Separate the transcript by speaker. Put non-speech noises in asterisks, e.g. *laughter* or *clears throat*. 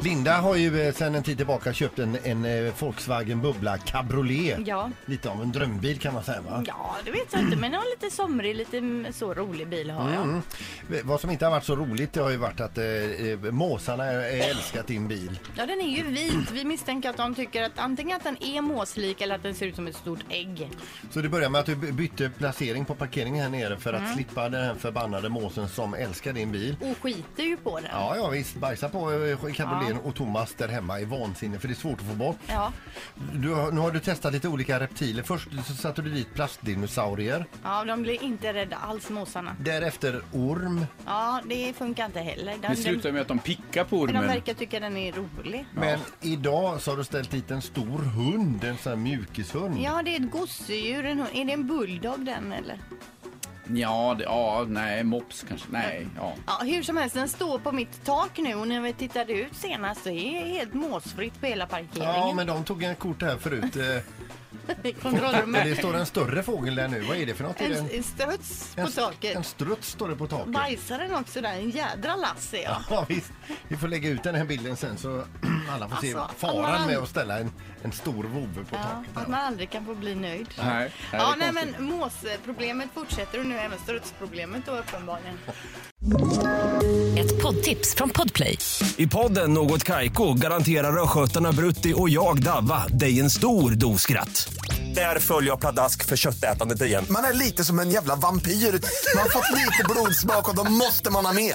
Speaker 1: Linda har ju eh, sedan en tid tillbaka köpt en, en eh, Volkswagen Bubbla Cabriolet.
Speaker 2: Ja.
Speaker 1: Lite av en drömbil kan man säga va?
Speaker 2: Ja, det vet jag inte, men jag har lite somrig, lite mm, så rolig bil har jag.
Speaker 1: Mm. Vad som inte har varit så roligt det har ju varit att eh, eh, måsarna eh, älskat din bil.
Speaker 2: Ja, den är ju vit. Vi misstänker att de tycker att antingen att den är måslik eller att den ser ut som ett stort ägg.
Speaker 1: Så det började med att du by- bytte placering på parkeringen här nere för att slippa den här förbannade måsen som älskar din bil.
Speaker 2: Och skiter ju på den.
Speaker 1: Ja, ja visst. Bajsa på eh, cabrioleten och Thomas där hemma i vansinne för det är svårt att få bort.
Speaker 2: Ja,
Speaker 1: Du, har- nu har du testat lite olika reptiler. Först så satte du dit plastdinosaurier,
Speaker 2: ja de blir inte rädda alls, måsarna.
Speaker 1: därefter orm.
Speaker 2: Ja, det funkar inte heller. Den,
Speaker 3: Det slutar med att de pickar på
Speaker 2: den, de
Speaker 3: ormen.
Speaker 2: verkar tycka den är rolig.
Speaker 1: Men idag så har du ställt dit en stor hund, en sån här mjukishund.
Speaker 2: Ja, det är ett gosedjur. en hund. Är det en bulldog den eller?
Speaker 3: Ja, det, ja, nej, mops kanske. Nej, ja.
Speaker 2: Ja, hur som helst, den står på mitt tak nu och när vi tittade ut senast så är det helt måsfritt på hela parkeringen.
Speaker 1: Ja, men de tog en kort här förut. eh,
Speaker 2: *laughs* I kontrollrummet.
Speaker 1: Det står en större fågel där nu. Vad är det för något? Är det
Speaker 2: En en struts på
Speaker 1: en, en
Speaker 2: taket.
Speaker 1: struts står det på taket.
Speaker 2: Bajsar den också där? En jädra lass ser jag.
Speaker 1: Ja, *laughs* visst. Vi får lägga ut den här bilden sen så *clears throat* alla får
Speaker 2: Alltså,
Speaker 1: se faran
Speaker 2: alla-
Speaker 1: med att ställa en, en stor vovve på
Speaker 2: Ja,
Speaker 1: taket.
Speaker 2: att man aldrig kan få bli nöjd.
Speaker 3: Nej, nej, det är
Speaker 2: ja, nej,
Speaker 3: konstigt.
Speaker 2: men måsproblemet fortsätter och nu även strutsproblemet då uppenbarligen.
Speaker 4: Ett poddtips från Podplay.
Speaker 5: I podden Något Kaiko garanterar östgötarna Brutti och jag, Davva, dig en stor dos skratt. Där följer jag pladask för köttätandet igen.
Speaker 6: Man är lite som en jävla vampyr. Man har fått lite blodsmak och då måste man ha mer.